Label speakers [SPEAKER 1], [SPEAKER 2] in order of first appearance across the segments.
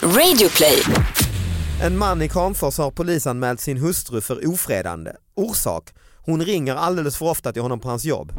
[SPEAKER 1] Radioplay.
[SPEAKER 2] En man i Kramfors har polisanmält sin hustru för ofredande. Orsak? Hon ringer alldeles för ofta till honom på hans jobb.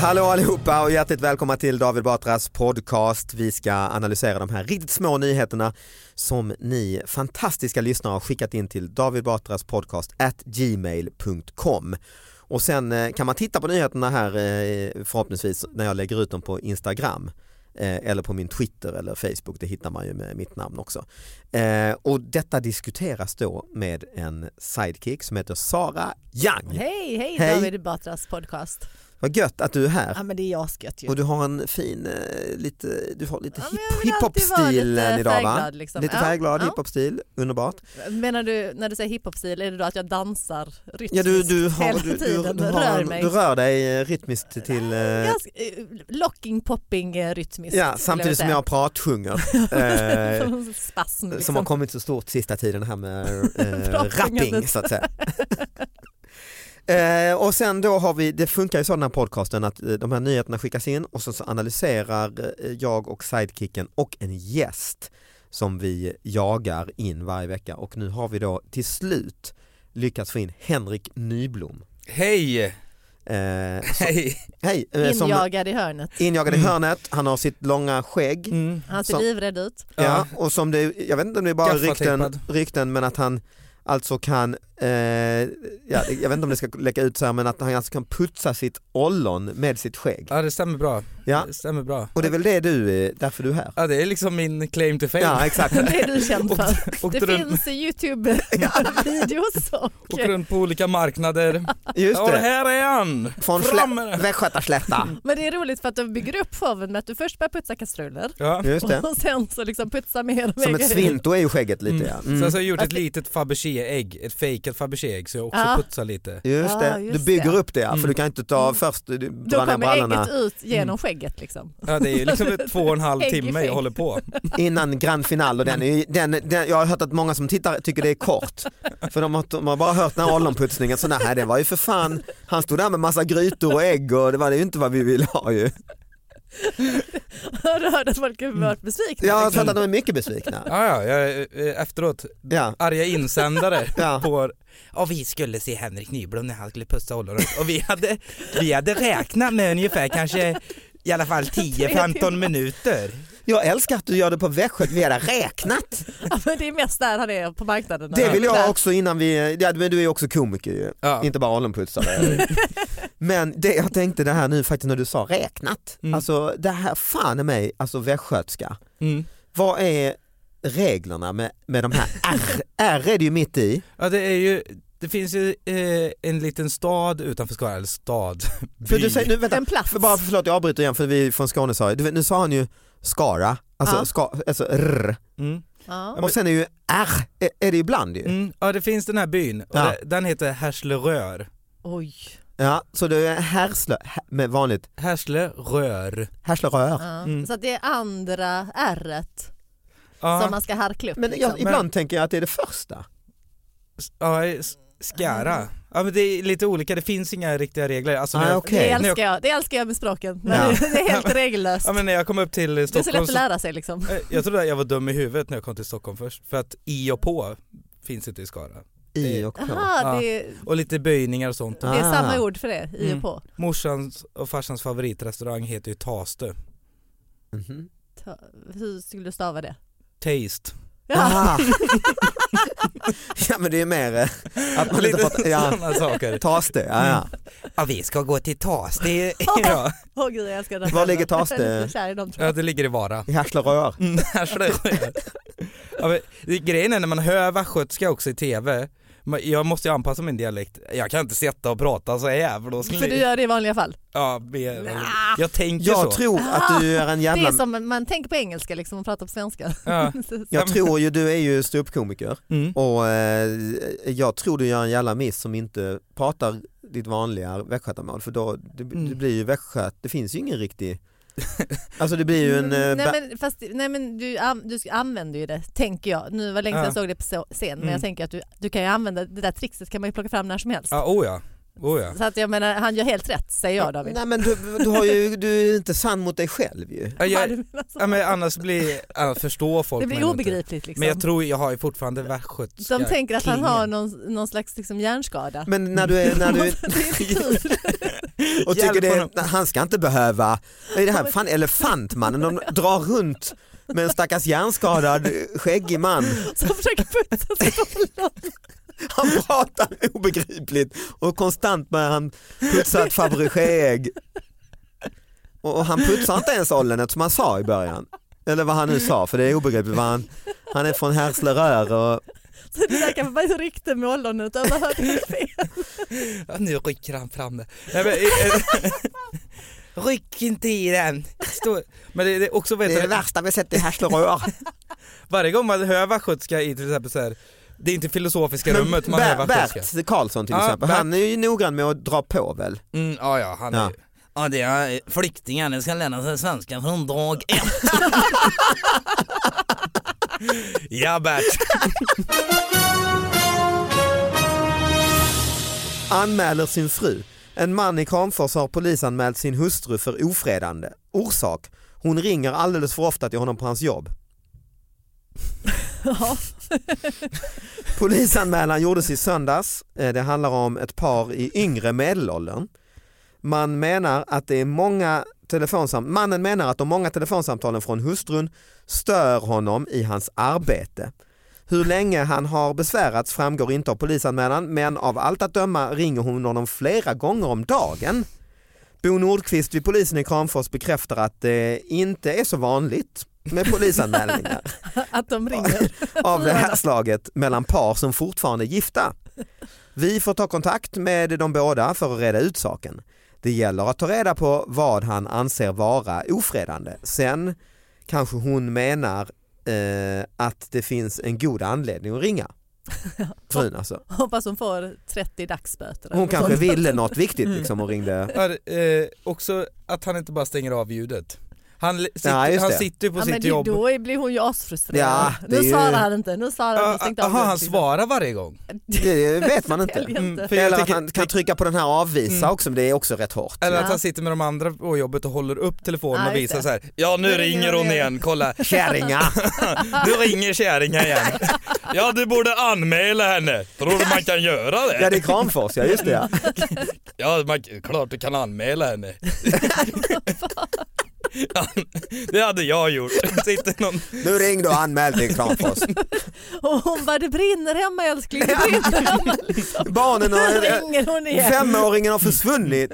[SPEAKER 2] Hallå allihopa och hjärtligt välkomna till David Batras podcast. Vi ska analysera de här riktigt små nyheterna som ni fantastiska lyssnare har skickat in till David Batras podcast at gmail.com. Och sen eh, kan man titta på nyheterna här eh, förhoppningsvis när jag lägger ut dem på Instagram eh, eller på min Twitter eller Facebook, det hittar man ju med mitt namn också. Eh, Och detta diskuteras då med en sidekick som heter Sara Young.
[SPEAKER 3] Hej, hej,
[SPEAKER 2] Hej.
[SPEAKER 3] David Batras podcast.
[SPEAKER 2] Vad gött att du är här.
[SPEAKER 3] Ja men det är asgött ju.
[SPEAKER 2] Och du har en fin, eh, lite, du har lite
[SPEAKER 3] Ja, men
[SPEAKER 2] hip,
[SPEAKER 3] jag vill alltid vara lite
[SPEAKER 2] hiphop-stilen idag va?
[SPEAKER 3] färgglad, liksom.
[SPEAKER 2] Lite
[SPEAKER 3] Ja,
[SPEAKER 2] färgglad,
[SPEAKER 3] ja.
[SPEAKER 2] hiphop-stil, underbart.
[SPEAKER 3] Menar du när du säger hiphop-stil, är det då att jag dansar rytmiskt
[SPEAKER 2] Ja, du, du, har,
[SPEAKER 3] hela
[SPEAKER 2] du, du,
[SPEAKER 3] tiden?
[SPEAKER 2] du,
[SPEAKER 3] rör
[SPEAKER 2] har en,
[SPEAKER 3] mig?
[SPEAKER 2] du rör dig eh, rytmiskt till, eh,
[SPEAKER 3] Ganska, eh, locking, popping, eh, rytmiskt.
[SPEAKER 2] ja, samtidigt som jag pratsjunger. eh,
[SPEAKER 3] har Spasm liksom.
[SPEAKER 2] Som har kommit så stort sista tiden här med eh,
[SPEAKER 3] Pratsjungandet.
[SPEAKER 2] rapping så att säga. Eh, och sen då har vi, det funkar ju så den här podcasten att eh, de här nyheterna skickas in och så, så analyserar eh, jag och sidekicken och en gäst som vi jagar in varje vecka och nu har vi då till slut lyckats få in Henrik Nyblom.
[SPEAKER 4] Hej!
[SPEAKER 2] Eh, så,
[SPEAKER 4] Hej!
[SPEAKER 2] hej! eh, som-
[SPEAKER 3] Injagad i hörnet.
[SPEAKER 2] Injagad i hörnet, han har sitt långa skägg.
[SPEAKER 3] Han ser
[SPEAKER 2] Mm, Som-
[SPEAKER 3] livrädd ut.
[SPEAKER 2] Ja,
[SPEAKER 4] Ja.
[SPEAKER 2] och som det, jag vet inte om det är bara rykten,
[SPEAKER 4] Gaffatejpad.
[SPEAKER 2] rykten men att han alltså kan, eh, ja, jag vet inte om det ska läcka ut så här men att han alltså kan putsa sitt ollon med sitt skägg.
[SPEAKER 4] Ja det stämmer bra.
[SPEAKER 2] Ja,
[SPEAKER 4] Det stämmer bra.
[SPEAKER 2] och det är väl det du, eh, därför du är här.
[SPEAKER 4] Ja det är liksom min claim to fame.
[SPEAKER 2] Ja exakt.
[SPEAKER 3] Det är du känd för.
[SPEAKER 4] Och
[SPEAKER 3] Det
[SPEAKER 4] runt,
[SPEAKER 3] finns YouTube-videos och
[SPEAKER 4] åkt runt på olika marknader.
[SPEAKER 2] Just
[SPEAKER 4] Ja, och
[SPEAKER 2] det.
[SPEAKER 4] här är han!
[SPEAKER 2] Från
[SPEAKER 4] Fram
[SPEAKER 2] Slä-
[SPEAKER 4] med den!
[SPEAKER 2] Västgötaslätta.
[SPEAKER 3] Men det är roligt för att de bygger upp showen med att du först börjar putsa kastruller
[SPEAKER 4] Ja.
[SPEAKER 2] Just det.
[SPEAKER 3] och sen så liksom putsa mer och
[SPEAKER 2] Som
[SPEAKER 3] mer
[SPEAKER 2] ett
[SPEAKER 3] grejer.
[SPEAKER 2] svinto är ju skägget lite ja.
[SPEAKER 4] Sen så
[SPEAKER 2] Mm.
[SPEAKER 4] har jag gjort ett
[SPEAKER 3] Okej. Ah.
[SPEAKER 4] litet Fabergé-ägg, ett fejkat Fabergé-ägg så jag också
[SPEAKER 3] Ja.
[SPEAKER 4] putsar lite.
[SPEAKER 2] Just
[SPEAKER 3] Ah,
[SPEAKER 2] det,
[SPEAKER 3] just
[SPEAKER 2] du bygger
[SPEAKER 3] det. Mm.
[SPEAKER 2] upp det ja,
[SPEAKER 4] Mm.
[SPEAKER 2] för du kan inte ta först, du drar
[SPEAKER 3] Då
[SPEAKER 2] ner
[SPEAKER 3] kommer
[SPEAKER 2] brallorna
[SPEAKER 3] ägget ut genom
[SPEAKER 2] Mm.
[SPEAKER 3] skägget liksom.
[SPEAKER 4] Ja det är ju liksom ett två och en halv
[SPEAKER 3] Ägg i
[SPEAKER 4] timme
[SPEAKER 3] fejk.
[SPEAKER 4] jag håller på.
[SPEAKER 2] innan Grand Final och den, är ju- den, den, jag har hört att många som tittar tycker det är kort. För de har, de har bara hört den här ollonputsningen, så nej det var ju för fan, han stod där med massa grytor och ägg och det var ju inte vad vi ville ha ju.
[SPEAKER 3] Har du hört att folk har varit besvikna?
[SPEAKER 2] Jag har
[SPEAKER 3] liksom?
[SPEAKER 2] hört Mm. att de är mycket besvikna.
[SPEAKER 4] Ja, ja, jag, eh, efteråt,
[SPEAKER 2] Ja.
[SPEAKER 4] arga insändare
[SPEAKER 2] Ja.
[SPEAKER 4] på och vi skulle se Henrik Nyblom när han skulle pussa ollonet och vi hade, vi hade räknat med ungefär kanske i alla fall 10-15 minuter.
[SPEAKER 2] Jag älskar att du gör det på Västgö, vi hade räknat.
[SPEAKER 3] Ja, men det är mest där han är på marknaden.
[SPEAKER 2] Det vill jag
[SPEAKER 3] Där.
[SPEAKER 2] också innan vi, ja, men du är ju också komiker ju,
[SPEAKER 4] Ja.
[SPEAKER 2] inte bara ollonputsare. Men det jag tänkte det här nu faktiskt när du sa räknat,
[SPEAKER 4] Mm.
[SPEAKER 2] alltså det här fan är mig, alltså västgötska.
[SPEAKER 4] Mm.
[SPEAKER 2] Vad är reglerna med, med de här R? R är det ju mitt i.
[SPEAKER 4] Ja det är ju, det finns ju eh, en liten stad utanför Skara, eller stad,
[SPEAKER 2] För
[SPEAKER 4] by.
[SPEAKER 2] du säger, nu, vänta,
[SPEAKER 3] En plats.
[SPEAKER 2] för bara förlåt jag avbryter igen för vi från Skåne sa, du vet, nu sa han ju Skara, alltså,
[SPEAKER 3] Ja.
[SPEAKER 2] ska, alltså R.
[SPEAKER 4] mm.
[SPEAKER 3] Ja.
[SPEAKER 2] Och sen är ju R, är- är det ibland ju.
[SPEAKER 4] Mm, ja det finns den här byn, och
[SPEAKER 2] Ja.
[SPEAKER 4] det- den heter Härslerör.
[SPEAKER 3] Oj.
[SPEAKER 2] Ja, så det är härslö, hä- med vanligt
[SPEAKER 4] Härslerör.
[SPEAKER 2] härslörör.
[SPEAKER 3] Ja.
[SPEAKER 4] Mm.
[SPEAKER 3] Så att det är andra ärret som
[SPEAKER 4] Ja,
[SPEAKER 3] man ska harkla upp.
[SPEAKER 2] Men jag,
[SPEAKER 3] liksom.
[SPEAKER 2] ibland tänker jag att det är det första.
[SPEAKER 4] ja s- Skara. Ja men det är lite olika, det finns inga riktiga regler. Alltså, när
[SPEAKER 2] Ah,
[SPEAKER 4] jag-
[SPEAKER 2] okej.
[SPEAKER 3] det,
[SPEAKER 4] Nu-
[SPEAKER 3] älskar jag, det älskar jag med språken, men
[SPEAKER 2] Ja.
[SPEAKER 3] det är helt regellöst.
[SPEAKER 4] Ja men när jag kom upp till eh,
[SPEAKER 3] det är så lätt
[SPEAKER 4] Stockholm
[SPEAKER 3] att
[SPEAKER 4] så
[SPEAKER 3] lära sig liksom.
[SPEAKER 4] Eh, Jag trodde att jag var dum i huvudet när jag kom till Stockholm först, för att i och på finns inte i Skara.
[SPEAKER 2] I och på.
[SPEAKER 3] Aha, det, är-
[SPEAKER 4] Och lite böjningar och sånt.
[SPEAKER 3] det är
[SPEAKER 2] Ah.
[SPEAKER 3] samma ord för det, i
[SPEAKER 4] Mm.
[SPEAKER 3] och på.
[SPEAKER 4] Morsans och farsans favoritrestaurang heter ju Taste.
[SPEAKER 2] Mhm.
[SPEAKER 3] Ta, hur skulle du stava det?
[SPEAKER 4] Taste.
[SPEAKER 3] Ja.
[SPEAKER 2] Ah. ja men det är mer eh, att man inte
[SPEAKER 4] Lite
[SPEAKER 2] pratar, ja,
[SPEAKER 4] sådana saker.
[SPEAKER 2] Taste, ja ja.
[SPEAKER 3] Mm.
[SPEAKER 4] Ja vi ska gå till Taste idag.
[SPEAKER 3] Åh gud jag älskar den.
[SPEAKER 2] Var ligger Taste?
[SPEAKER 3] Jag är lite kär i dem tror
[SPEAKER 4] Ja
[SPEAKER 3] jag.
[SPEAKER 4] det ligger i Vara.
[SPEAKER 2] I härslörör.
[SPEAKER 4] Mm, här slår jag. ja, men, det- grejen är när man hör västgötska också i TV, man- jag måste ju anpassa min dialekt. Jag kan inte sitta och prata så här för då skulle
[SPEAKER 3] För du gör det i vanliga fall?
[SPEAKER 4] ja, mer- Jag tänker så.
[SPEAKER 2] Jag tror att du är en
[SPEAKER 3] Ah, Det
[SPEAKER 2] jävla,
[SPEAKER 3] är som man tänker på engelska liksom och pratar på svenska.
[SPEAKER 4] Ja.
[SPEAKER 2] jag tror ju du är ju ståuppkomiker
[SPEAKER 4] Mm.
[SPEAKER 2] och eh, jag tror du gör en jävla miss som inte pratar ditt vanliga västgötamål för då det, det
[SPEAKER 4] Mm.
[SPEAKER 2] blir ju västgöt, det finns ju ingen riktig, alltså det blir ju en, eh, ba-
[SPEAKER 3] Mm, nej, men, fast, nej men du, an- du sk- använder ju det tänker jag. Nu var länge sedan
[SPEAKER 4] Ja.
[SPEAKER 3] jag såg det på så- scen men
[SPEAKER 4] Mm.
[SPEAKER 3] jag tänker att du, du kan ju använda det där trickset kan man ju plocka fram när som helst.
[SPEAKER 4] Ja, oh ja. Oh ja.
[SPEAKER 3] Så att jag menar han gör helt rätt säger jag David.
[SPEAKER 2] nej men du, du, har ju, du är inte sann mot dig själv ju.
[SPEAKER 4] Ja,
[SPEAKER 3] Vad
[SPEAKER 4] jag,
[SPEAKER 3] du menar så.
[SPEAKER 4] ja, men annars blir, annars förstår folk
[SPEAKER 3] det
[SPEAKER 4] mig
[SPEAKER 3] blir
[SPEAKER 4] nog
[SPEAKER 3] obegripligt
[SPEAKER 4] Inte.
[SPEAKER 3] liksom.
[SPEAKER 4] Men jag tror jag har ju fortfarande västgötska
[SPEAKER 3] De tänker att han
[SPEAKER 4] klinga.
[SPEAKER 3] har någon, någon slags liksom hjärnskada.
[SPEAKER 2] Men när du är, när du,
[SPEAKER 4] Alltså,
[SPEAKER 2] och tycker
[SPEAKER 4] Hjälp
[SPEAKER 2] det
[SPEAKER 4] honom.
[SPEAKER 2] är, han ska inte behöva, är det här fan elefantmannen, de drar runt med en stackars hjärnskadad skäggig man.
[SPEAKER 3] Som försöker putsa sig på honom.
[SPEAKER 2] Han pratar obegripligt och konstant börjar han putsa ett Fabergé-ägg. Och och han putsar inte ens ollenet som han sa i början. Eller vad han nu sa, för det är obegripligt. vad Han, han är från Härslerör och
[SPEAKER 3] Så det där kanske bara är ett rykte med ollonet. Jag bara hörde det fel.
[SPEAKER 4] Ja, nu rycker han fram det. Nej, men, eh, eh, ryck inte i den. Stå. Men det, det är också vet
[SPEAKER 2] det är det
[SPEAKER 4] du,
[SPEAKER 2] värsta vi sett i Härslerör.
[SPEAKER 4] varje gång man hör västgötska i till exempel så här, det är inte filosofiska rummet man hör
[SPEAKER 2] Ber-
[SPEAKER 4] västgötska.
[SPEAKER 2] Bert Karlsson till
[SPEAKER 4] Ja,
[SPEAKER 2] exempel,
[SPEAKER 4] Bert.
[SPEAKER 2] han är ju noggrann med att dra på väl?
[SPEAKER 4] Mm, ja, ja, han
[SPEAKER 2] Ja.
[SPEAKER 4] är Ja det är eh, flyktingar, de ska lära sig svenska från dag ett. ja Bert.
[SPEAKER 2] Anmäler sin fru. En man i Kramfors har polisanmält sin hustru för ofredande. Orsak? Hon ringer alldeles för ofta till honom på hans jobb.
[SPEAKER 3] Ja.
[SPEAKER 2] Polisanmälan gjordes i söndags. Eh, Det handlar om ett par i yngre medelåldern. Man menar att det är många telefonsam- Mannen menar att de många telefonsamtalen från hustrun stör honom i hans arbete. Hur länge han har besvärats framgår inte av polisanmälan men av allt att döma ringer hon honom flera gånger om dagen. Bo Nordqvist vid polisen i Kramfors bekräftar att det inte är så vanligt med polisanmälningar
[SPEAKER 3] Att de ringer.
[SPEAKER 2] av det här slaget mellan par som fortfarande är gifta. Vi får ta kontakt med de båda för att reda ut saken. Det gäller att ta reda på vad han anser vara ofredande. Sen kanske hon menar eh, att det finns en god anledning att ringa. Frun alltså.
[SPEAKER 3] Hoppas hon får 30 dagsböter.
[SPEAKER 2] Hon kanske ville något viktigt liksom och ringde.
[SPEAKER 4] Ja, det, eh, också att han inte bara stänger av ljudet. Han, li- sitter,
[SPEAKER 2] Ja, just
[SPEAKER 4] han
[SPEAKER 2] det.
[SPEAKER 4] sitter ju på
[SPEAKER 3] ja, men
[SPEAKER 4] sitt
[SPEAKER 3] det,
[SPEAKER 4] jobb.
[SPEAKER 3] då blir hon ju asfrustrerad.
[SPEAKER 2] Ja, det är
[SPEAKER 3] nu
[SPEAKER 2] ju-
[SPEAKER 3] svarar han inte, nu svarar han
[SPEAKER 4] Ja,
[SPEAKER 3] inte. stängt av
[SPEAKER 4] Jaha, han
[SPEAKER 3] liksom.
[SPEAKER 4] svarar varje gång.
[SPEAKER 2] Det vet man inte.
[SPEAKER 3] Sälj inte.
[SPEAKER 4] Mm, för jag
[SPEAKER 2] Eller att
[SPEAKER 4] tänker- Mm.
[SPEAKER 2] han kan trycka på den här avvisa också, men det är också rätt hårt.
[SPEAKER 4] Eller att
[SPEAKER 3] Ja.
[SPEAKER 4] han sitter med de andra på jobbet och håller upp telefonen
[SPEAKER 3] Ja,
[SPEAKER 4] och
[SPEAKER 3] just
[SPEAKER 4] visar
[SPEAKER 3] det.
[SPEAKER 4] så här. Ja nu ringer hon igen, kolla.
[SPEAKER 2] Kärringar!
[SPEAKER 4] Du ringer kärringen igen. Ja du borde anmäla henne. Tror du man kan göra
[SPEAKER 2] Ja det
[SPEAKER 4] det?
[SPEAKER 2] är Kramfors, ja just det ja.
[SPEAKER 4] Ja man, klart du kan anmäla henne. Ja, det hade jag gjort. Sitter någon...
[SPEAKER 2] Nu ringde och anmälde i Kramfors.
[SPEAKER 3] Och hon bara, det brinner hemma älskling, det brinner hemma. Liksom.
[SPEAKER 2] Barnen
[SPEAKER 3] Nu
[SPEAKER 2] har,
[SPEAKER 3] ringer hon igen.
[SPEAKER 2] femåringen har försvunnit.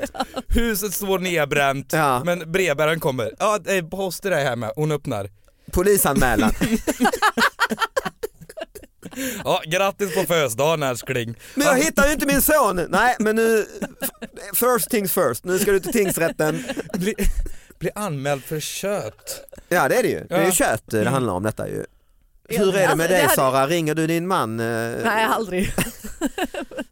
[SPEAKER 4] Huset står nedbränt
[SPEAKER 2] Ja.
[SPEAKER 4] men brevbäraren kommer. Ja det är post i det här med. Hon öppnar.
[SPEAKER 2] Polisanmälan.
[SPEAKER 4] Ja grattis på födelsedagen älskling.
[SPEAKER 2] Men jag hittar ju inte min son. Nej men nu, first things first, nu ska du till tingsrätten.
[SPEAKER 4] Bli, bli anmäld för kött.
[SPEAKER 2] Ja det är det ju, det är ju
[SPEAKER 4] Ja.
[SPEAKER 2] kött det handlar om detta ju. Hur är det med
[SPEAKER 3] Alltså,
[SPEAKER 2] dig
[SPEAKER 3] hade-
[SPEAKER 2] Sara, ringer du din man? eh?
[SPEAKER 3] Nej, aldrig.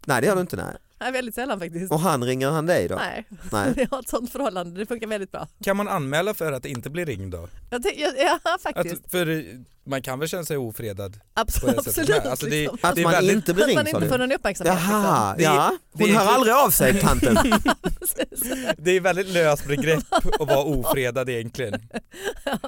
[SPEAKER 2] Nej det gör du inte nej.
[SPEAKER 3] Nej, väldigt sällan faktiskt.
[SPEAKER 2] Och han ringer han dig då?
[SPEAKER 3] Nej,
[SPEAKER 2] Nej.
[SPEAKER 3] jag har ett sånt förhållande. Det funkar väldigt bra.
[SPEAKER 4] Kan man anmäla för att inte bli ringd då?
[SPEAKER 3] Jag tänk, jag, ja,
[SPEAKER 4] Att,
[SPEAKER 3] faktiskt.
[SPEAKER 4] för eh, man kan väl känna sig ofredad? på
[SPEAKER 3] Absolut.
[SPEAKER 4] det sättet med.
[SPEAKER 3] absolut
[SPEAKER 4] Alltså, det-
[SPEAKER 3] liksom.
[SPEAKER 2] Att
[SPEAKER 4] Det är
[SPEAKER 2] man
[SPEAKER 4] väldigt-
[SPEAKER 2] inte blir
[SPEAKER 3] Att
[SPEAKER 2] ringd
[SPEAKER 3] man
[SPEAKER 2] sa
[SPEAKER 3] inte
[SPEAKER 2] du?
[SPEAKER 3] får någon uppmärksamhet. liksom.
[SPEAKER 2] Jaha,
[SPEAKER 4] Det är-
[SPEAKER 2] ja.
[SPEAKER 4] det
[SPEAKER 2] Hon
[SPEAKER 4] är-
[SPEAKER 2] hör aldrig av sig tanten.
[SPEAKER 4] Det är väldigt löst begrepp att vara ofredad egentligen.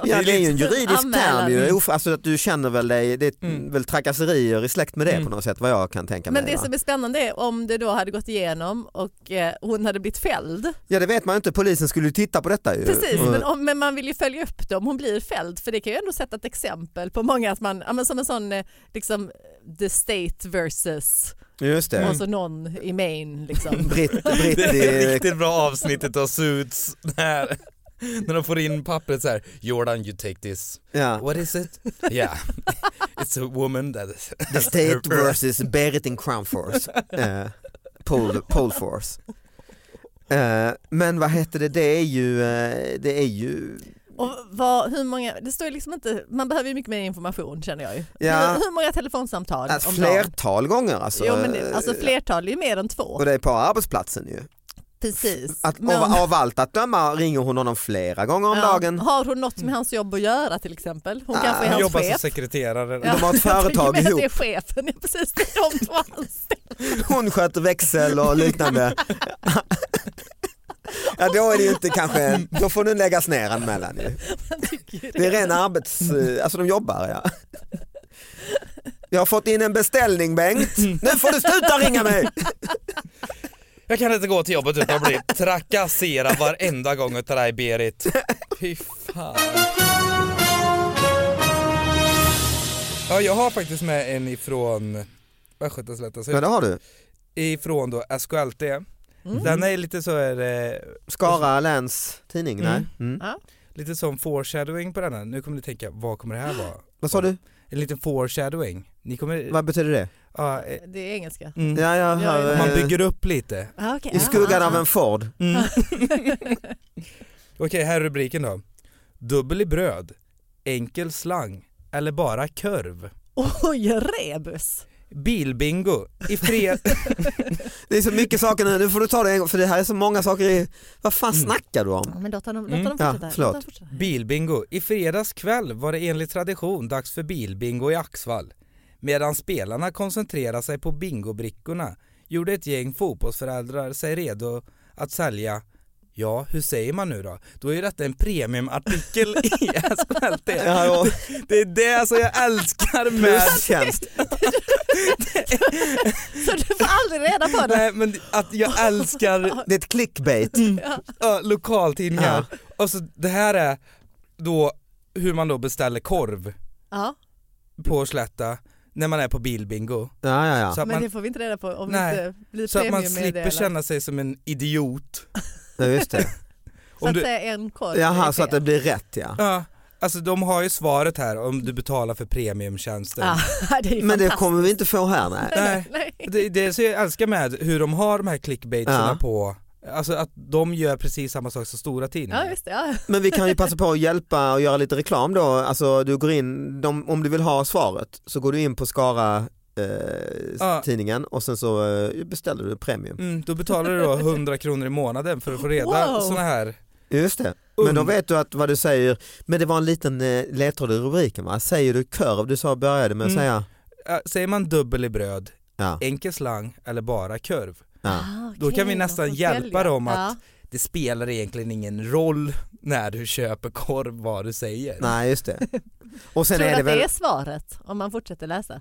[SPEAKER 2] Ja, det är ju en juridisk
[SPEAKER 3] Anmälan.
[SPEAKER 2] term ju. Of- Alltså att du känner väl dig, det är
[SPEAKER 4] Mm.
[SPEAKER 2] väl trakasserier i släkt med det
[SPEAKER 4] Mm.
[SPEAKER 2] på något sätt vad jag kan tänka
[SPEAKER 3] Men
[SPEAKER 2] mig.
[SPEAKER 3] det
[SPEAKER 2] va?
[SPEAKER 3] som är spännande är om det då hade gått igenom och eh, hon hade blivit fälld.
[SPEAKER 2] Ja det vet man ju inte, polisen skulle ju titta på detta ju. Mm.
[SPEAKER 3] Precis,
[SPEAKER 2] Eh, Och-
[SPEAKER 3] men, om, men man vill ju följa upp det om hon blir fälld för det kan ju ändå sätta ett exempel på många att man, ja, men som en sån eh, liksom the state versus
[SPEAKER 2] Just det.
[SPEAKER 3] och så någon i Maine liksom.
[SPEAKER 2] Britt, Britt eh,
[SPEAKER 4] Det är
[SPEAKER 2] i,
[SPEAKER 4] riktigt bra avsnittet av Suits när, när de får in pappret så här. Jordan you take this.
[SPEAKER 2] ja,
[SPEAKER 4] What is it? Yeah. It's a woman that
[SPEAKER 2] The State versus Berit in Crown Force. Eh, pole, pole Force. Eh, men vad heter det, det är ju, eh, det är ju
[SPEAKER 3] Och vad, hur många, det står ju liksom inte, man behöver ju mycket mer information känner jag ju.
[SPEAKER 2] Ja.
[SPEAKER 3] Hur, hur många telefonsamtal
[SPEAKER 2] alltså,
[SPEAKER 3] om dagen?
[SPEAKER 2] flertal gånger alltså.
[SPEAKER 3] Jo, men det, alltså flertal är ju mer än två.
[SPEAKER 2] Och det är på arbetsplatsen ju.
[SPEAKER 3] Precis.
[SPEAKER 2] Att,
[SPEAKER 3] Men-
[SPEAKER 2] av, av allt att döma ringer hon honom flera gånger om
[SPEAKER 3] Ja.
[SPEAKER 2] dagen. Mm.
[SPEAKER 3] Har hon något med hans jobb att göra till exempel? Hon
[SPEAKER 2] Ah,
[SPEAKER 3] kanske är hans
[SPEAKER 4] jobbar som
[SPEAKER 3] chef.
[SPEAKER 4] sekreterare.
[SPEAKER 2] De har ett
[SPEAKER 3] Jag
[SPEAKER 2] företag
[SPEAKER 3] tänker mig
[SPEAKER 2] ihop.
[SPEAKER 3] att det är chefen, ja, precis. Det är de två anställda.
[SPEAKER 2] Hon sköter växel och liknande. Ja då är det ju inte kanske, då får den läggas ner anmälan ju. Det är ren arbets, alltså de jobbar ja. Jag har fått in en beställning Bengt, nu får du sluta ringa mig!
[SPEAKER 4] Jag kan inte gå till jobbet utan att bli trakasserad varenda gång utav dig Berit. Fy fan. Ja, jag har faktiskt med en ifrån Västgötaslätten,
[SPEAKER 2] Ja det har du.
[SPEAKER 4] ifrån då SKLT. Den är lite så här, eh,
[SPEAKER 2] Skara läns tidning, nej. Mm.
[SPEAKER 4] lite som foreshadowing på den här. Nu kommer ni tänka, vad kommer det här vara?
[SPEAKER 2] Vad sa du?
[SPEAKER 4] En liten foreshadowing. Ni kommer,
[SPEAKER 2] Vad betyder det?
[SPEAKER 4] ja, eh,
[SPEAKER 3] Det är engelska.
[SPEAKER 4] mm.
[SPEAKER 2] Ja, jag
[SPEAKER 3] Ja,
[SPEAKER 4] Man
[SPEAKER 2] hör, eh,
[SPEAKER 4] bygger upp lite.
[SPEAKER 3] Ah, okay.
[SPEAKER 2] I skuggan av en Ford.
[SPEAKER 4] Mm. Okej, här är rubriken då. Dubbel i bröd, enkel slang eller bara körv.
[SPEAKER 3] Oj, rebus!
[SPEAKER 4] Bilbingo, i fred...
[SPEAKER 2] Det är så mycket saker nu, nu får du ta det en gång för det här är så många saker i, vad fan snackar du om?
[SPEAKER 3] Men låt honom, låt
[SPEAKER 4] Mm.
[SPEAKER 3] honom
[SPEAKER 2] Ja,
[SPEAKER 3] fortsätta.
[SPEAKER 2] förlåt.
[SPEAKER 3] låt honom fortsätta.
[SPEAKER 4] Bilbingo, i fredags kväll var det enligt tradition dags för bilbingo i Axvall. Medan spelarna koncentrerade sig på bingobrickorna gjorde ett gäng fotbollsföräldrar sig redo att sälja Ja, hur säger man nu då? Då är ju detta en premiumartikel i SKLT.
[SPEAKER 2] Ja, ja.
[SPEAKER 4] Det är det som jag älskar med
[SPEAKER 2] Tjänst.
[SPEAKER 3] Så du får aldrig reda på det.
[SPEAKER 4] Nej men att jag älskar
[SPEAKER 2] Det är ett clickbait.
[SPEAKER 4] ö, lokaltidningar. Och så det här är då hur man då beställer korv
[SPEAKER 3] Ja,
[SPEAKER 4] på Slätta när man är på bilbingo.
[SPEAKER 2] Ja, ja, ja.
[SPEAKER 4] Så att
[SPEAKER 3] men
[SPEAKER 4] man,
[SPEAKER 3] det får vi inte reda på om
[SPEAKER 4] Nej,
[SPEAKER 3] vi inte blir
[SPEAKER 4] så att man slipper
[SPEAKER 3] premiummeddelade.
[SPEAKER 4] känna sig som en idiot.
[SPEAKER 2] ja just det.
[SPEAKER 3] Så
[SPEAKER 4] Om
[SPEAKER 3] att
[SPEAKER 4] du,
[SPEAKER 3] säga en korv. är
[SPEAKER 2] Jaha, så
[SPEAKER 3] fel.
[SPEAKER 2] att det blir rätt ja.
[SPEAKER 4] ja, alltså de har ju svaret här om du betalar för premiumtjänsten.
[SPEAKER 3] Ah, det är ju
[SPEAKER 2] Men det
[SPEAKER 3] fantastiskt.
[SPEAKER 2] kommer vi inte få här nej.
[SPEAKER 4] Nej.
[SPEAKER 3] Nej.
[SPEAKER 4] Det, det är så jag älskar med hur de har de här clickbaitserna
[SPEAKER 2] Ja.
[SPEAKER 4] på, alltså att de gör precis samma sak som stora tidningar.
[SPEAKER 3] Ja, just det. Ja.
[SPEAKER 2] Men vi kan ju passa på att hjälpa och göra lite reklam då. Alltså du går in, de, om du vill ha svaret så går du in på Skara eh,
[SPEAKER 4] Ja.
[SPEAKER 2] tidningen och sen så eh, beställer du premium.
[SPEAKER 4] Mm, då betalar du då 100 kronor i månaden för att få reda
[SPEAKER 3] Wow.
[SPEAKER 4] såna här
[SPEAKER 2] Just det. Men då vet du att vad du säger, men det var en liten eh, ledtråd i rubriken va? Säger du kurv? Du sa började med att
[SPEAKER 4] Mm.
[SPEAKER 2] säga
[SPEAKER 4] Äh, Säger man dubbel i bröd,
[SPEAKER 2] ja.
[SPEAKER 4] enkel slang eller bara kurv?
[SPEAKER 2] ja.
[SPEAKER 3] Ah,
[SPEAKER 4] Då kan vi
[SPEAKER 3] okej,
[SPEAKER 4] nästan
[SPEAKER 3] man får
[SPEAKER 4] hjälpa
[SPEAKER 3] välja.
[SPEAKER 4] dem att-
[SPEAKER 3] Ja.
[SPEAKER 4] Det spelar egentligen ingen roll när du köper korv vad du säger.
[SPEAKER 2] Nej just det. Och sen
[SPEAKER 3] Tror du
[SPEAKER 2] är det
[SPEAKER 3] att
[SPEAKER 2] väl
[SPEAKER 3] det är svaret om man fortsätter läsa?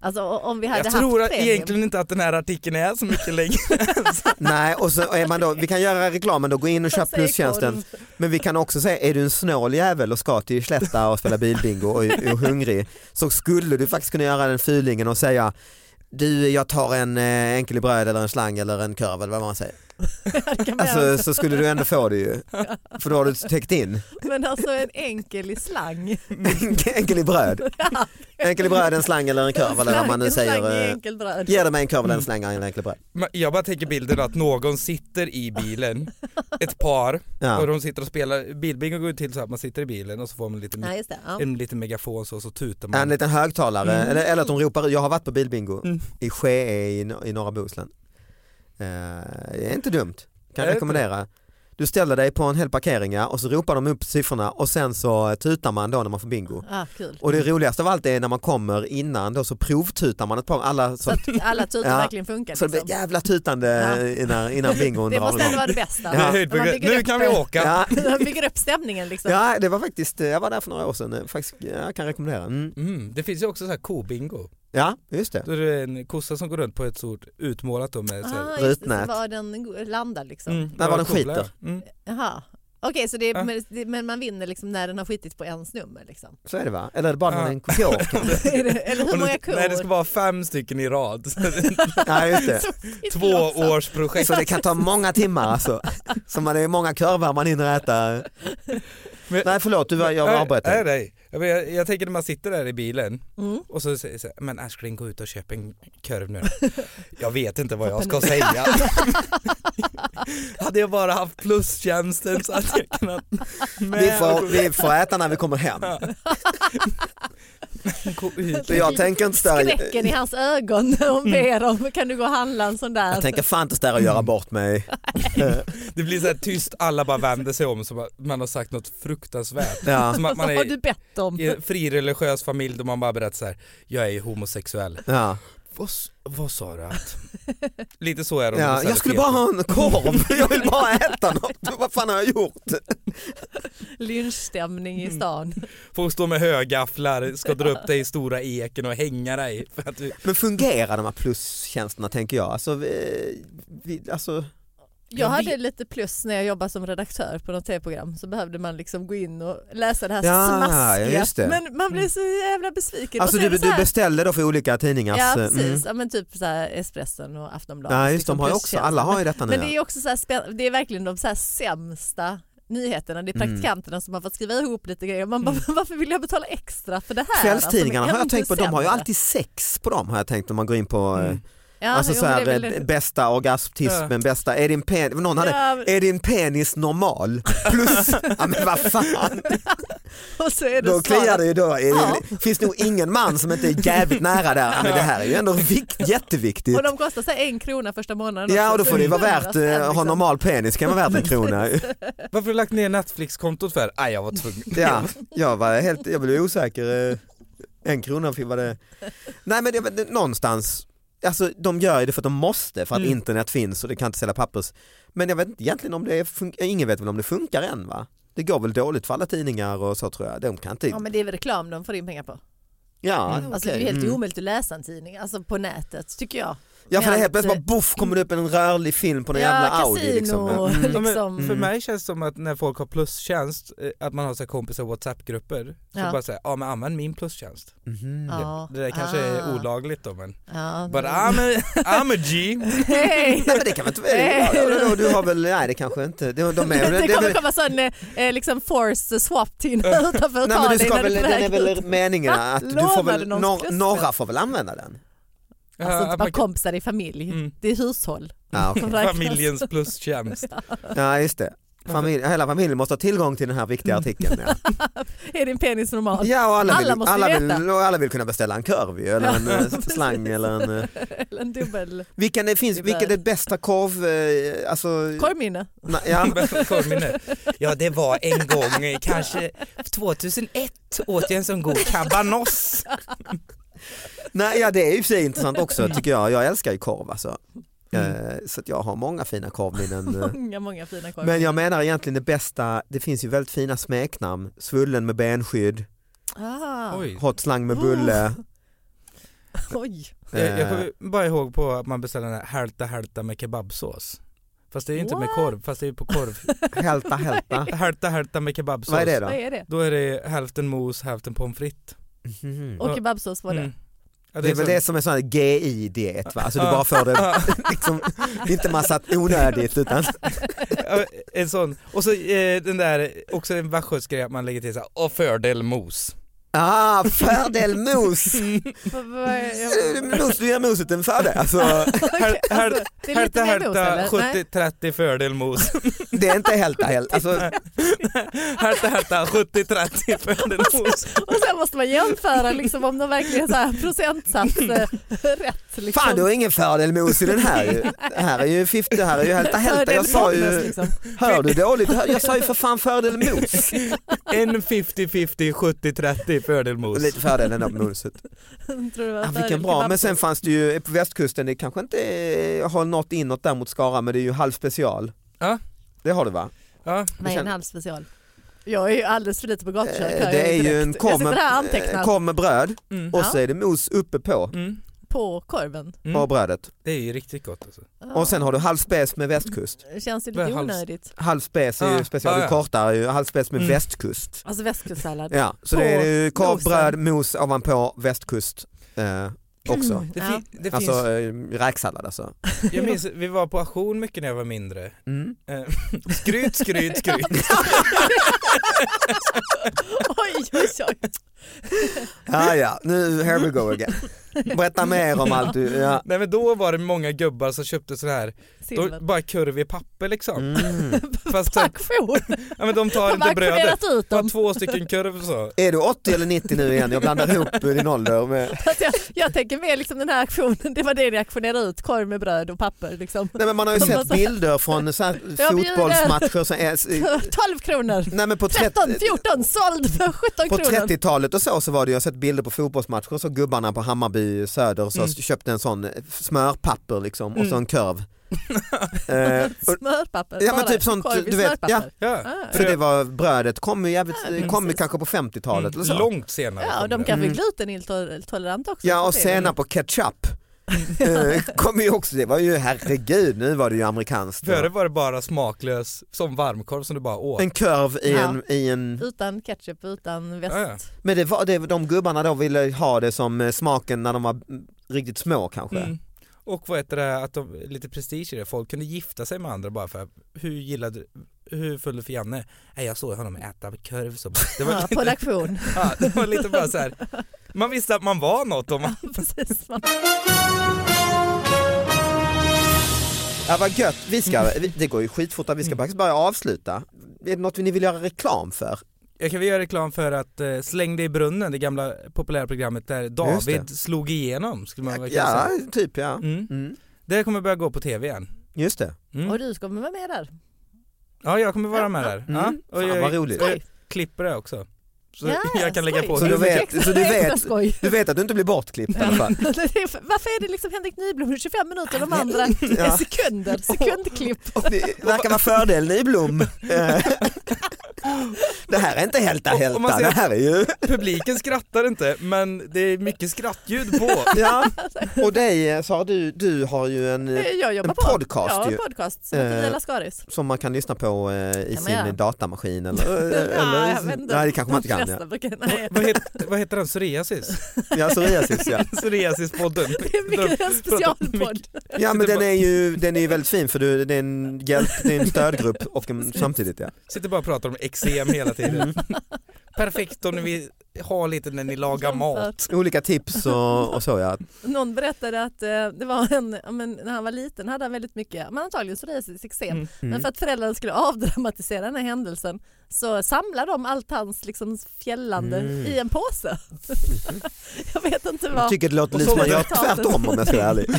[SPEAKER 3] Alltså o- om vi hade
[SPEAKER 4] Jag tror
[SPEAKER 3] haft
[SPEAKER 4] att
[SPEAKER 3] premium.
[SPEAKER 4] egentligen inte att den här artikeln är så mycket längre.
[SPEAKER 2] Nej, och så är man då, vi kan göra reklamen då, gå in och köp
[SPEAKER 3] säger
[SPEAKER 2] plustjänsten.
[SPEAKER 3] korv.
[SPEAKER 2] Men vi kan också säga, är du en snål jävel och ska till Slätta och spela bilbingo och är är hungrig så skulle du faktiskt kunna göra den fylingen och säga du, jag tar en eh, enkel i bröd eller en slang eller en korv eller vad man säger.
[SPEAKER 3] Det kan man göra.
[SPEAKER 2] Alltså, så skulle du ändå få det ju. För då har du täckt in.
[SPEAKER 3] Men alltså en enkel i slang.
[SPEAKER 2] enkel i bröd. Enkel i bröd, en slang eller en korv eller vad man nu
[SPEAKER 3] En slang i
[SPEAKER 2] säger. eh,
[SPEAKER 3] enkel bröd.
[SPEAKER 2] Ge dig mig en korv eller en slang eller en enkel i bröd.
[SPEAKER 4] Men Jag bara tänker bilden att någon sitter i bilen, ett par,
[SPEAKER 2] Ja.
[SPEAKER 4] och de sitter och spelar, bilbingo går ju till så att man sitter i bilen och så får man lite,
[SPEAKER 3] Ja, just det. Ja.
[SPEAKER 4] en liten megafon så, så tutar man.
[SPEAKER 2] En liten högtalare,
[SPEAKER 3] Mm.
[SPEAKER 2] eller, eller att de ropar ut. Jag har varit på bilbingo i Skee i, no- i norra Bohuslän. Eh, det är inte dumt, kan
[SPEAKER 4] Är
[SPEAKER 3] Eh,
[SPEAKER 4] det
[SPEAKER 2] rekommendera. Du ställer dig på en hel parkering ja, och så ropar de upp siffrorna och sen så tutar man då när man får bingo.
[SPEAKER 3] Ah, kul.
[SPEAKER 2] Och det roligaste av allt är när man kommer innan då så provtutar man ett par, alla
[SPEAKER 3] Så
[SPEAKER 2] så,
[SPEAKER 3] att alla tutor
[SPEAKER 2] Ja.
[SPEAKER 3] verkligen funkar.
[SPEAKER 2] så det blir
[SPEAKER 3] Liksom.
[SPEAKER 2] ett jävla tutande
[SPEAKER 3] Ja.
[SPEAKER 2] innan, innan bingon
[SPEAKER 3] Det
[SPEAKER 2] drar
[SPEAKER 3] måste ändå
[SPEAKER 2] igång.
[SPEAKER 3] vara det bästa.
[SPEAKER 4] Det är
[SPEAKER 2] Ja.
[SPEAKER 4] höjdpunkten.
[SPEAKER 3] Man bygger
[SPEAKER 4] Nu
[SPEAKER 3] upp-
[SPEAKER 4] kan vi åka.
[SPEAKER 2] Ja.
[SPEAKER 3] Man bygger upp stämningen liksom.
[SPEAKER 2] ja, det var faktiskt, jag var där för några år sedan, eh, faktiskt, jag kan rekommendera. Mm.
[SPEAKER 4] Mm, det finns ju också så här kobingo.
[SPEAKER 2] Ja, just det.
[SPEAKER 4] Då är det en kossa som går runt på ett stort utmålat då med så här,
[SPEAKER 3] Ah, just det, så
[SPEAKER 2] Rutnät.
[SPEAKER 3] var den go- landar liksom.
[SPEAKER 4] Mm,
[SPEAKER 2] Där var den
[SPEAKER 4] kola, ja.
[SPEAKER 2] skiter.
[SPEAKER 4] Mm.
[SPEAKER 3] Jaha. Okej, så det är,
[SPEAKER 4] Ja.
[SPEAKER 3] men- det- men man vinner liksom när den har skitit på ens nummer liksom.
[SPEAKER 2] Så är det va? Eller är det bara när
[SPEAKER 4] Ja.
[SPEAKER 2] den går? kanske?
[SPEAKER 3] Är det- Eller hur
[SPEAKER 4] Och nu-
[SPEAKER 3] många kor?
[SPEAKER 4] Nej det ska vara fem stycken i rad.
[SPEAKER 2] Ja, just det.
[SPEAKER 4] Två års projekt.
[SPEAKER 2] Så det kan ta många timmar alltså. Så man, det är många korvar man hinner äta.
[SPEAKER 4] Men-
[SPEAKER 2] Nej förlåt, du, var- jag
[SPEAKER 4] Nej,
[SPEAKER 2] avbröt
[SPEAKER 4] Nej,
[SPEAKER 2] dig.
[SPEAKER 4] nej. Jag, men jag, jag tänker när man sitter där i bilen
[SPEAKER 3] Mm.
[SPEAKER 4] och så säger så här, men älskling gå ut och köp en korv nu. jag vet inte vad jag ska säga. hade jag bara haft plustjänsten så hade jag kunnat med
[SPEAKER 2] Vi får, vi får äta när vi kommer hem.
[SPEAKER 4] gå ut.
[SPEAKER 2] Så jag tänker inte störa,
[SPEAKER 3] Skräcken i hans ögon när hon ber om kan du gå och handla en sån där?
[SPEAKER 2] jag tänker fan inte störa och göra bort mig.
[SPEAKER 4] Det blir så här tyst, alla bara vänder sig om så bara- man har sagt något fruktansvärt.
[SPEAKER 2] Ja.
[SPEAKER 4] Som att man
[SPEAKER 3] Har du
[SPEAKER 4] är
[SPEAKER 3] bett om?
[SPEAKER 4] i en frireligiös familj då man bara berättar så här, jag är homosexuell.
[SPEAKER 2] Ja.
[SPEAKER 4] Vad, s- vad sa du att? Lite så är de.
[SPEAKER 2] Ja, jag skulle bara ha en korv, jag vill bara äta något. Vad fan har jag gjort?
[SPEAKER 3] Lynchstämning
[SPEAKER 4] Mm.
[SPEAKER 3] i stan.
[SPEAKER 4] Får stå med högafflar, ska dra upp dig i stora eken och hänga dig. För att du...
[SPEAKER 2] Men fungerar de här plustjänsterna tänker jag? Alltså, vi, vi, alltså,
[SPEAKER 3] Jag hade lite plus när jag jobbade som redaktör på något tv-program så behövde man liksom gå in och läsa det här
[SPEAKER 2] Ja, ja,
[SPEAKER 3] smaskiga.
[SPEAKER 2] just det. Mm.
[SPEAKER 3] Men man blev så jävla besviken.
[SPEAKER 2] alltså
[SPEAKER 3] och så är
[SPEAKER 2] du,
[SPEAKER 3] det så
[SPEAKER 2] du
[SPEAKER 3] här-
[SPEAKER 2] beställer då för olika tidningars...
[SPEAKER 3] Ja
[SPEAKER 2] mm.
[SPEAKER 3] precis, ja, men typ så här Espressen och Aftonbladet.
[SPEAKER 2] Nej just
[SPEAKER 3] liksom
[SPEAKER 2] de har ju också,
[SPEAKER 3] plustjänster.
[SPEAKER 2] alla har ju detta nu.
[SPEAKER 3] Men det är ju också så här spän- det är verkligen de så här sämsta nyheterna, det är
[SPEAKER 2] Mm.
[SPEAKER 3] praktikanterna som har fått skriva ihop lite grejer. Man bara, varför vill jag betala extra för det här?
[SPEAKER 2] Kvällstidningarna
[SPEAKER 3] Alltså,
[SPEAKER 2] har jag tänkt på, de har ju
[SPEAKER 3] ännu
[SPEAKER 2] alltid sex på dem har jag tänkt när man går in på eh,
[SPEAKER 3] sämre. Mm. ja,
[SPEAKER 2] alltså
[SPEAKER 3] jo,
[SPEAKER 2] så
[SPEAKER 3] men
[SPEAKER 2] här,
[SPEAKER 3] det är väl-
[SPEAKER 2] eh, bästa orgasmtismen, bästa, är din, pen, någon hade,
[SPEAKER 3] Ja, men-
[SPEAKER 2] är din penis normal? Plus, ja men vad fan,
[SPEAKER 3] och så är det
[SPEAKER 2] då kliar
[SPEAKER 3] svaret.
[SPEAKER 2] det ju då. Är det,
[SPEAKER 3] Ja.
[SPEAKER 2] finns nog ingen man som inte är jävligt nära där, Ja, men det här är ju ändå vikt, jätteviktigt.
[SPEAKER 3] Och de kostar så här en krona första månaden.
[SPEAKER 2] Ja
[SPEAKER 3] också,
[SPEAKER 2] och då
[SPEAKER 3] så
[SPEAKER 2] får det vara
[SPEAKER 3] hundra
[SPEAKER 2] värt,
[SPEAKER 3] spänn,
[SPEAKER 2] eh, ha
[SPEAKER 3] liksom.
[SPEAKER 2] normal penis kan vara värt en krona.
[SPEAKER 4] Varför har du lagt ner Netflix-kontot för? Nej, jag var tvungen.
[SPEAKER 2] Ja, jag var helt, jag blev osäker. eh, En krona fick vad det... Nej men det, men det, någonstans, alltså de gör ju det för att de måste
[SPEAKER 3] Mm.
[SPEAKER 2] för att internet finns och det kan inte sälja pappers. Men jag vet inte egentligen om det funkar, ingen vet väl om det funkar än va? Det går väl dåligt för alla tidningar och så tror jag. De kan inte...
[SPEAKER 3] Ja men det är väl reklam de får in pengar på.
[SPEAKER 2] Ja,
[SPEAKER 3] Alltså det är ju helt omöjligt att läsa en tidning, alltså på nätet tycker jag.
[SPEAKER 2] Mm. ja för det
[SPEAKER 3] Med
[SPEAKER 2] är helt
[SPEAKER 3] allt,
[SPEAKER 2] plötsligt
[SPEAKER 3] eh,
[SPEAKER 2] bara boff kommer det upp en rörlig film på någon
[SPEAKER 3] Ja,
[SPEAKER 2] jävla
[SPEAKER 3] kasino.
[SPEAKER 2] Audi liksom.
[SPEAKER 3] Mm.
[SPEAKER 4] Ja, men
[SPEAKER 3] Liksom.
[SPEAKER 4] För mig känns det som att när folk har plustjänst, eh, att man har så här kompisar i WhatsApp-grupper, så
[SPEAKER 3] Ja.
[SPEAKER 4] bara säger ja men använd min plustjänst.
[SPEAKER 2] Mhm.
[SPEAKER 3] Ja.
[SPEAKER 4] Det där kanske är
[SPEAKER 3] Ah.
[SPEAKER 4] olagligt då men,
[SPEAKER 3] Ja,
[SPEAKER 4] but I'm a, I'm a G.
[SPEAKER 3] Hej!
[SPEAKER 2] Nej men det kan väl inte vara, ja, du har väl, nej det kanske inte, de, de är,
[SPEAKER 3] Det
[SPEAKER 2] är
[SPEAKER 3] kommer
[SPEAKER 2] väl,
[SPEAKER 3] komma sån eh, liksom force swap till utanför och
[SPEAKER 2] Nej
[SPEAKER 3] ta
[SPEAKER 2] men du
[SPEAKER 3] dig
[SPEAKER 2] ska
[SPEAKER 3] när
[SPEAKER 2] väl,
[SPEAKER 3] du är på
[SPEAKER 2] den är
[SPEAKER 3] väg ut.
[SPEAKER 2] väl meningen
[SPEAKER 3] Va?
[SPEAKER 2] att du
[SPEAKER 3] Lånar
[SPEAKER 2] får
[SPEAKER 3] du
[SPEAKER 2] väl,
[SPEAKER 3] någon
[SPEAKER 2] nor,
[SPEAKER 3] pluspel?
[SPEAKER 2] några får väl använda den?
[SPEAKER 3] Alltså inte
[SPEAKER 4] Ja,
[SPEAKER 3] bara
[SPEAKER 4] man kan-
[SPEAKER 3] kompisar i familj, det är hushåll.
[SPEAKER 2] Ja, Ah, okej.
[SPEAKER 3] Som räknas.
[SPEAKER 4] Familjens plustjänst.
[SPEAKER 2] ja just det. Familj, hela familjen måste ha tillgång till den här viktiga artikeln. Ja,
[SPEAKER 3] Är din penis normal?
[SPEAKER 2] ja och alla vill,
[SPEAKER 3] Alla måste
[SPEAKER 2] alla,
[SPEAKER 3] veta.
[SPEAKER 2] vill, och alla vill kunna beställa en korv ju, eller en eh, slang eller en... eh,
[SPEAKER 3] Eller en dubbel
[SPEAKER 2] Vilken, det finns,
[SPEAKER 3] Det är
[SPEAKER 2] vilken är
[SPEAKER 3] väl-
[SPEAKER 2] bästa korv? eh, Alltså,
[SPEAKER 3] korvminne?
[SPEAKER 2] na, ja,
[SPEAKER 4] Korvminne. Ja det var en gång, eh, kanske 2001 åt jag en sån god kabanoss.
[SPEAKER 2] nej, ja, det är ju för sig intressant också tycker jag. Jag älskar ju korv alltså. Eh, Så att jag har många fina korvminnen. eh.
[SPEAKER 3] Mm. Många, många fina korvminnen.
[SPEAKER 2] Men jag menar egentligen det bästa, det finns ju väldigt fina smeknamn. Svullen med benskydd,
[SPEAKER 3] Ah, oj.
[SPEAKER 4] Oj.
[SPEAKER 2] hot slang med bulle.
[SPEAKER 3] Oh.
[SPEAKER 4] Jag, jag
[SPEAKER 2] Eh,
[SPEAKER 4] kommer bara ihåg på att man beställer den här hälta hälta med kebabsås. Fast det är ju inte med
[SPEAKER 3] What?
[SPEAKER 4] korv, fast det är ju på korv.
[SPEAKER 2] Hälta hälta.
[SPEAKER 4] Hälta hälta med kebabsås.
[SPEAKER 2] Vad är det
[SPEAKER 3] Vad
[SPEAKER 2] då?
[SPEAKER 3] är det?
[SPEAKER 4] Då är det hälften mos, hälften pommes frites.
[SPEAKER 2] Mhm.
[SPEAKER 3] Och kebabsås var det.
[SPEAKER 4] Mm. Ja,
[SPEAKER 2] Det är väl
[SPEAKER 4] så-
[SPEAKER 2] det som är sån här GI-diet va? Alltså du
[SPEAKER 4] Ja.
[SPEAKER 2] bara får det
[SPEAKER 4] Ja.
[SPEAKER 2] liksom, inte massa onödigt utan
[SPEAKER 4] Ja, en sån. Och så eh, den där, också en västgötsk grej att man lägger till så här, och fördel mos.
[SPEAKER 2] ah, fördel mos! Eh,
[SPEAKER 3] Vad- vad är- jag-
[SPEAKER 2] Mos, du ger moset en fördel. Alltså,
[SPEAKER 4] Här- här-
[SPEAKER 3] Det är lite
[SPEAKER 4] Härta
[SPEAKER 3] mer mos
[SPEAKER 4] härta
[SPEAKER 3] eller? Nej.
[SPEAKER 4] 70-30 fördel mos.
[SPEAKER 2] det är inte hälta hälta. Alltså,
[SPEAKER 4] Härta härta 70-30 fördel mos.
[SPEAKER 3] Och sen måste man jämföra liksom, om de verkligen så här procentsats eh, rätt. Liksom.
[SPEAKER 2] fan du har ingen fördel mos i den här ju. Det här är ju 50, det här är ju hälta hälta. Jag sa
[SPEAKER 3] Fördel mos,
[SPEAKER 2] ju,
[SPEAKER 3] liksom.
[SPEAKER 2] hör du dåligt? Hör- Jag sa ju för fan fördel mos.
[SPEAKER 4] En 50-50 70-30 fördel mos.
[SPEAKER 2] Lite fördel ändå på moset.
[SPEAKER 3] Tror du
[SPEAKER 2] Ah,
[SPEAKER 3] att det här är
[SPEAKER 2] vilken bra, men sen
[SPEAKER 3] kebabsås?
[SPEAKER 2] fanns det ju eh, på västkusten, det kanske inte eh, har något inåt där mot Skara men det är ju halv special.
[SPEAKER 4] Ja.
[SPEAKER 2] Det har du va?
[SPEAKER 4] Ja.
[SPEAKER 3] Vad är en halv special? Jag är ju alldeles för lite på
[SPEAKER 2] Eh,
[SPEAKER 3] gatukök. hör jag
[SPEAKER 2] Det är ju
[SPEAKER 3] direkt.
[SPEAKER 2] en korv
[SPEAKER 3] Jag sitter här och
[SPEAKER 2] med, eh,
[SPEAKER 3] antecknar
[SPEAKER 2] korv med bröd
[SPEAKER 4] Mm.
[SPEAKER 2] och
[SPEAKER 3] Ja.
[SPEAKER 2] så är det mos uppe på,
[SPEAKER 4] Mm.
[SPEAKER 3] på korven.
[SPEAKER 4] Mm.
[SPEAKER 2] på brödet.
[SPEAKER 4] Det är ju riktigt gott alltså.
[SPEAKER 3] Ja.
[SPEAKER 2] Och sen har du halv spes med västkust.
[SPEAKER 3] Det känns ju
[SPEAKER 4] Vad
[SPEAKER 3] lite
[SPEAKER 4] är hals?
[SPEAKER 3] onödigt.
[SPEAKER 2] Halv spes är ju
[SPEAKER 4] Ah,
[SPEAKER 2] special,
[SPEAKER 4] ah,
[SPEAKER 2] du
[SPEAKER 4] ja.
[SPEAKER 2] kortar ju halv spes med
[SPEAKER 4] Mm.
[SPEAKER 2] västkust.
[SPEAKER 3] Alltså västkustsallad.
[SPEAKER 2] Ja, så
[SPEAKER 3] På
[SPEAKER 2] det är ju korv,
[SPEAKER 3] mosen.
[SPEAKER 2] bröd, mos ovanpå västkust eh, också.
[SPEAKER 4] Det,
[SPEAKER 3] Ja.
[SPEAKER 4] fin- det finns,
[SPEAKER 2] Alltså eh, räksallad alltså.
[SPEAKER 4] jag minns, vi var på auktion mycket när jag var mindre.
[SPEAKER 2] Mm.
[SPEAKER 4] Eh, Skryt, skryt, skryt.
[SPEAKER 3] Oj, oj, oj.
[SPEAKER 2] Ja, ja, nu here we go again. Berätta mer om allt du, ja.
[SPEAKER 4] Nej men då var det många gubbar som köpte så här, då,
[SPEAKER 3] Silver.
[SPEAKER 4] bara kurv i papper liksom.
[SPEAKER 2] Mm.
[SPEAKER 4] Fast typ,
[SPEAKER 3] Auktion.
[SPEAKER 4] ja, men de tar
[SPEAKER 3] De har
[SPEAKER 4] inte brödet.
[SPEAKER 3] auktionerat ut
[SPEAKER 4] Bara
[SPEAKER 3] dem.
[SPEAKER 4] två stycken kurv så.
[SPEAKER 2] Är du 80 eller 90 nu igen? Jag blandar ihop eh, din ålder med...
[SPEAKER 3] Alltså jag, jag tänker mer liksom den här aktionen, det var det ni auktionerade ut, korv med bröd och papper. Liksom.
[SPEAKER 2] Nej men man har ju
[SPEAKER 3] De var
[SPEAKER 2] sett
[SPEAKER 3] så här-
[SPEAKER 2] bilder från så här
[SPEAKER 3] Jag bjuder.
[SPEAKER 2] fotbollsmatcher som är...
[SPEAKER 3] 12 kronor,
[SPEAKER 2] Nej men på,
[SPEAKER 3] 13,
[SPEAKER 2] 30,
[SPEAKER 3] 14, såld för 17
[SPEAKER 2] på
[SPEAKER 3] kronor.
[SPEAKER 2] 30-talet och så, så var det, jag har sett bilder på fotbollsmatcher så gubbarna på Hammarby Söder
[SPEAKER 4] Mm.
[SPEAKER 2] så köpte en sån eh, smörpapper liksom och så en kurv. eh, och,
[SPEAKER 3] Smörpapper,
[SPEAKER 2] ja men
[SPEAKER 3] bara
[SPEAKER 2] typ sånt,
[SPEAKER 3] korv i
[SPEAKER 2] du vet, ja,
[SPEAKER 3] smörpapper.
[SPEAKER 4] Ja.
[SPEAKER 2] för det var brödet kom ju
[SPEAKER 4] Ah,
[SPEAKER 2] jävligt,
[SPEAKER 3] Ja,
[SPEAKER 2] kom ju
[SPEAKER 3] precis.
[SPEAKER 2] kanske på
[SPEAKER 4] Mm.
[SPEAKER 2] 50-talet eller så.
[SPEAKER 4] Långt senare.
[SPEAKER 3] Ja, och
[SPEAKER 4] kom
[SPEAKER 3] de
[SPEAKER 4] det.
[SPEAKER 3] kanske är
[SPEAKER 2] Mm.
[SPEAKER 3] glutenintoleranta också.
[SPEAKER 2] Ja
[SPEAKER 3] så
[SPEAKER 2] och
[SPEAKER 3] det är väl-
[SPEAKER 2] senap och ketchup. Eh, kom ju också, det var ju herregud nu var det ju amerikanskt.
[SPEAKER 4] Före var det bara smaklös, som varmkorv som du bara åt.
[SPEAKER 2] En kurv i,
[SPEAKER 3] Ja.
[SPEAKER 2] en, i en...
[SPEAKER 3] Utan ketchup, utan väst.
[SPEAKER 4] Ja, ja.
[SPEAKER 2] Men det var, det, de gubbarna då ville ha det som eh, smaken när de var mm, riktigt små kanske.
[SPEAKER 4] Mm. Och vad heter det, att de, lite prestige i det, folk kunde gifta sig med andra bara för att, hur gillade, hur föll det för Janne? Nej jag såg honom äta korv så bara- det var,
[SPEAKER 3] Ja, på en auktion.
[SPEAKER 4] ja, det var lite bara så här. man visste att man var något om man,
[SPEAKER 3] Precis.
[SPEAKER 2] Ja vad gött, vi ska, vi, det går ju skitfort att vi
[SPEAKER 4] Mm.
[SPEAKER 2] ska faktiskt börja avsluta. Är det något ni vill göra reklam för?
[SPEAKER 4] jag kan väl göra reklam för att eh, Släng dig i brunnen, det gamla populära programmet där David slog igenom skulle man väl kunna
[SPEAKER 2] Ja,
[SPEAKER 4] säga.
[SPEAKER 2] typ ja.
[SPEAKER 4] Mm.
[SPEAKER 2] Mm.
[SPEAKER 4] Det kommer börja gå på tv igen.
[SPEAKER 2] Just det.
[SPEAKER 4] Mm.
[SPEAKER 3] Och du kommer vara med där.
[SPEAKER 4] Ja jag kommer vara med där.
[SPEAKER 2] Mm.
[SPEAKER 4] Ja, och
[SPEAKER 2] Fan, vad
[SPEAKER 4] jag,
[SPEAKER 2] roligt.
[SPEAKER 4] och jag klipper det också. Så
[SPEAKER 3] Ja,
[SPEAKER 4] jag kan lägga
[SPEAKER 3] skoj.
[SPEAKER 4] på
[SPEAKER 2] Så du
[SPEAKER 4] hur mycket
[SPEAKER 2] vet, så du
[SPEAKER 3] Extra
[SPEAKER 2] vet,
[SPEAKER 3] skoj.
[SPEAKER 2] du vet att du inte blir bortklippt i alla fall.
[SPEAKER 3] Det är- Varför är det liksom Henrik Nyblom i 25 minuter och de andra är
[SPEAKER 2] Ja.
[SPEAKER 3] sekunder, sekundklipp.
[SPEAKER 2] Och Det verkar vara fördel Nyblom. Eh. det här är inte hälta
[SPEAKER 4] Och- och man
[SPEAKER 2] hälta,
[SPEAKER 4] ser-
[SPEAKER 2] det här är ju...
[SPEAKER 4] Publiken skrattar inte men det är mycket skrattljud på.
[SPEAKER 2] Ja. Och dig eh, Sara, du, du har ju en eh,
[SPEAKER 3] Jag jobbar
[SPEAKER 2] en
[SPEAKER 3] på
[SPEAKER 2] podcast
[SPEAKER 3] ja,
[SPEAKER 2] ju.
[SPEAKER 3] en podcast som heter
[SPEAKER 2] Eh,
[SPEAKER 3] Via Lascaris.
[SPEAKER 2] som man kan lyssna på eh, i
[SPEAKER 3] Kan man
[SPEAKER 2] sin
[SPEAKER 3] göra?
[SPEAKER 2] datamaskin eller, eh, eller
[SPEAKER 3] Ja, jag vet inte.
[SPEAKER 2] nej det kanske man inte
[SPEAKER 3] De
[SPEAKER 2] kan.
[SPEAKER 3] flesta
[SPEAKER 2] Ja,
[SPEAKER 3] brukar- nej.
[SPEAKER 4] Vad heter, vad heter den? Psoriasis?
[SPEAKER 2] ja psoriasis ja.
[SPEAKER 4] Psoriasispodden.
[SPEAKER 3] Det är mycket en specialpodd.
[SPEAKER 2] Ja men den är ju, den är ju väldigt fin för du, det är en hjälp, det är en stödgrupp och en, samtidigt ja.
[SPEAKER 4] Sitter bara och pratar om eksem hela tiden. Perfekt om ni vill ha lite när ni lagar mat.
[SPEAKER 2] Olika tips och, och så ja.
[SPEAKER 3] Någon berättade att eh, det var en, ja, men när han var liten hade han väldigt mycket, men antagligen psoriasis, eksem.
[SPEAKER 4] Mm,
[SPEAKER 3] Men för att föräldrarna skulle avdramatisera den här händelsen så samlade de allt hans liksom, fjällande
[SPEAKER 4] Mm.
[SPEAKER 3] i en påse. jag vet inte
[SPEAKER 2] Jag
[SPEAKER 3] vad.
[SPEAKER 2] tycker det låter
[SPEAKER 3] Och
[SPEAKER 2] lite
[SPEAKER 3] så
[SPEAKER 2] som att
[SPEAKER 3] var
[SPEAKER 2] jag gör
[SPEAKER 3] resultatet.
[SPEAKER 2] tvärtom om jag ska vara ärlig.
[SPEAKER 4] Och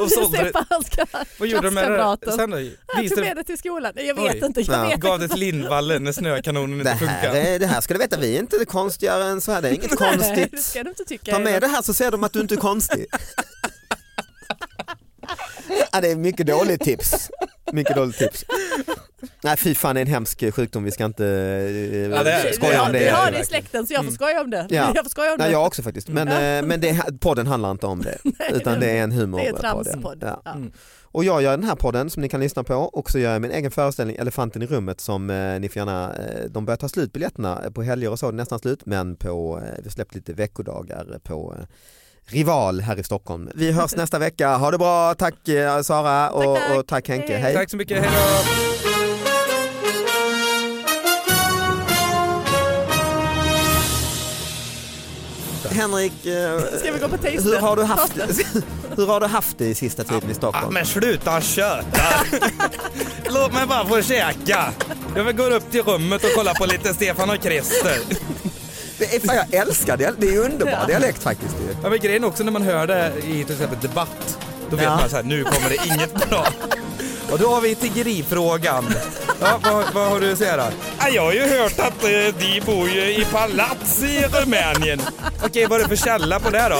[SPEAKER 3] Jag ser
[SPEAKER 4] sålde,
[SPEAKER 3] på hans kla-
[SPEAKER 4] vad gjorde de med det där?
[SPEAKER 3] klasskamraten.
[SPEAKER 4] Sen då?
[SPEAKER 3] Han tog
[SPEAKER 4] Visade,
[SPEAKER 3] med det till skolan. Nej, Jag vet
[SPEAKER 4] Oj.
[SPEAKER 3] inte. Jag
[SPEAKER 2] Ja.
[SPEAKER 3] vet.
[SPEAKER 4] gav det till Lindvallen när snökanonen
[SPEAKER 2] Det
[SPEAKER 4] inte
[SPEAKER 2] här,
[SPEAKER 4] funkar.
[SPEAKER 2] är, det här ska du veta, vi är inte konstigare än så här, det är inget
[SPEAKER 3] Nej, det
[SPEAKER 2] konstigt.
[SPEAKER 3] ska du inte tycka.
[SPEAKER 2] Ta med det här så ser de att du inte är konstig. ja, det är mycket dåligt tips. Mycket dåligt tips. Nej fy fan det är en hemsk sjukdom, vi ska inte eh,
[SPEAKER 4] Ja, det är-
[SPEAKER 2] skoja om
[SPEAKER 4] det
[SPEAKER 2] det.
[SPEAKER 3] Vi har det i
[SPEAKER 4] verkligen.
[SPEAKER 3] släkten så jag får skoja om det.
[SPEAKER 2] Mm. Ja.
[SPEAKER 3] Jag får skoja om det.
[SPEAKER 2] Nej, jag också faktiskt, men, eh, men det, podden handlar inte om det utan det är en humor.
[SPEAKER 3] det är tramspodd.
[SPEAKER 2] Ja.
[SPEAKER 4] Mm.
[SPEAKER 3] Ja.
[SPEAKER 2] Och jag gör den här podden som ni kan lyssna på och så gör jag min egen föreställning Elefanten i rummet som eh, ni får gärna, eh, de börjar ta slut biljetterna på helger och så, det är nästan slut men på, eh, vi har släppt lite veckodagar på eh, Rival här i Stockholm. Vi hörs nästa vecka, ha det bra, tack eh, Sara och
[SPEAKER 3] Tack, tack.
[SPEAKER 2] och tack Henke,
[SPEAKER 3] Hej.
[SPEAKER 2] hej.
[SPEAKER 4] Tack så mycket, hejdå!
[SPEAKER 2] Henrik, eh,
[SPEAKER 3] Ska vi gå på taste?
[SPEAKER 2] hur har du haft, hur har du haft det i sista tiden i
[SPEAKER 4] Ah,
[SPEAKER 2] Stockholm?
[SPEAKER 4] men sluta köta! Låt mig bara få käka! Jag vill gå upp till rummet och kolla på lite Stefan och Krister.
[SPEAKER 2] Det är, fan, jag älskar det, det är ju underbar dialekt faktiskt. ju.
[SPEAKER 4] Ja, men grejen också när man hör det i till exempel Debatt, då vet
[SPEAKER 2] Ja.
[SPEAKER 4] man så här, nu kommer det inget bra. Och då har vi tiggerifrågan. Ja, vad, vad har du att säga då? jag har ju hört att eh, de bor i palats i Rumänien. Okej, vad är det Ah, för källa på det då?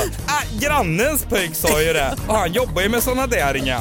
[SPEAKER 4] grannens pojk sa ju det och han jobbar ju med såna där inga.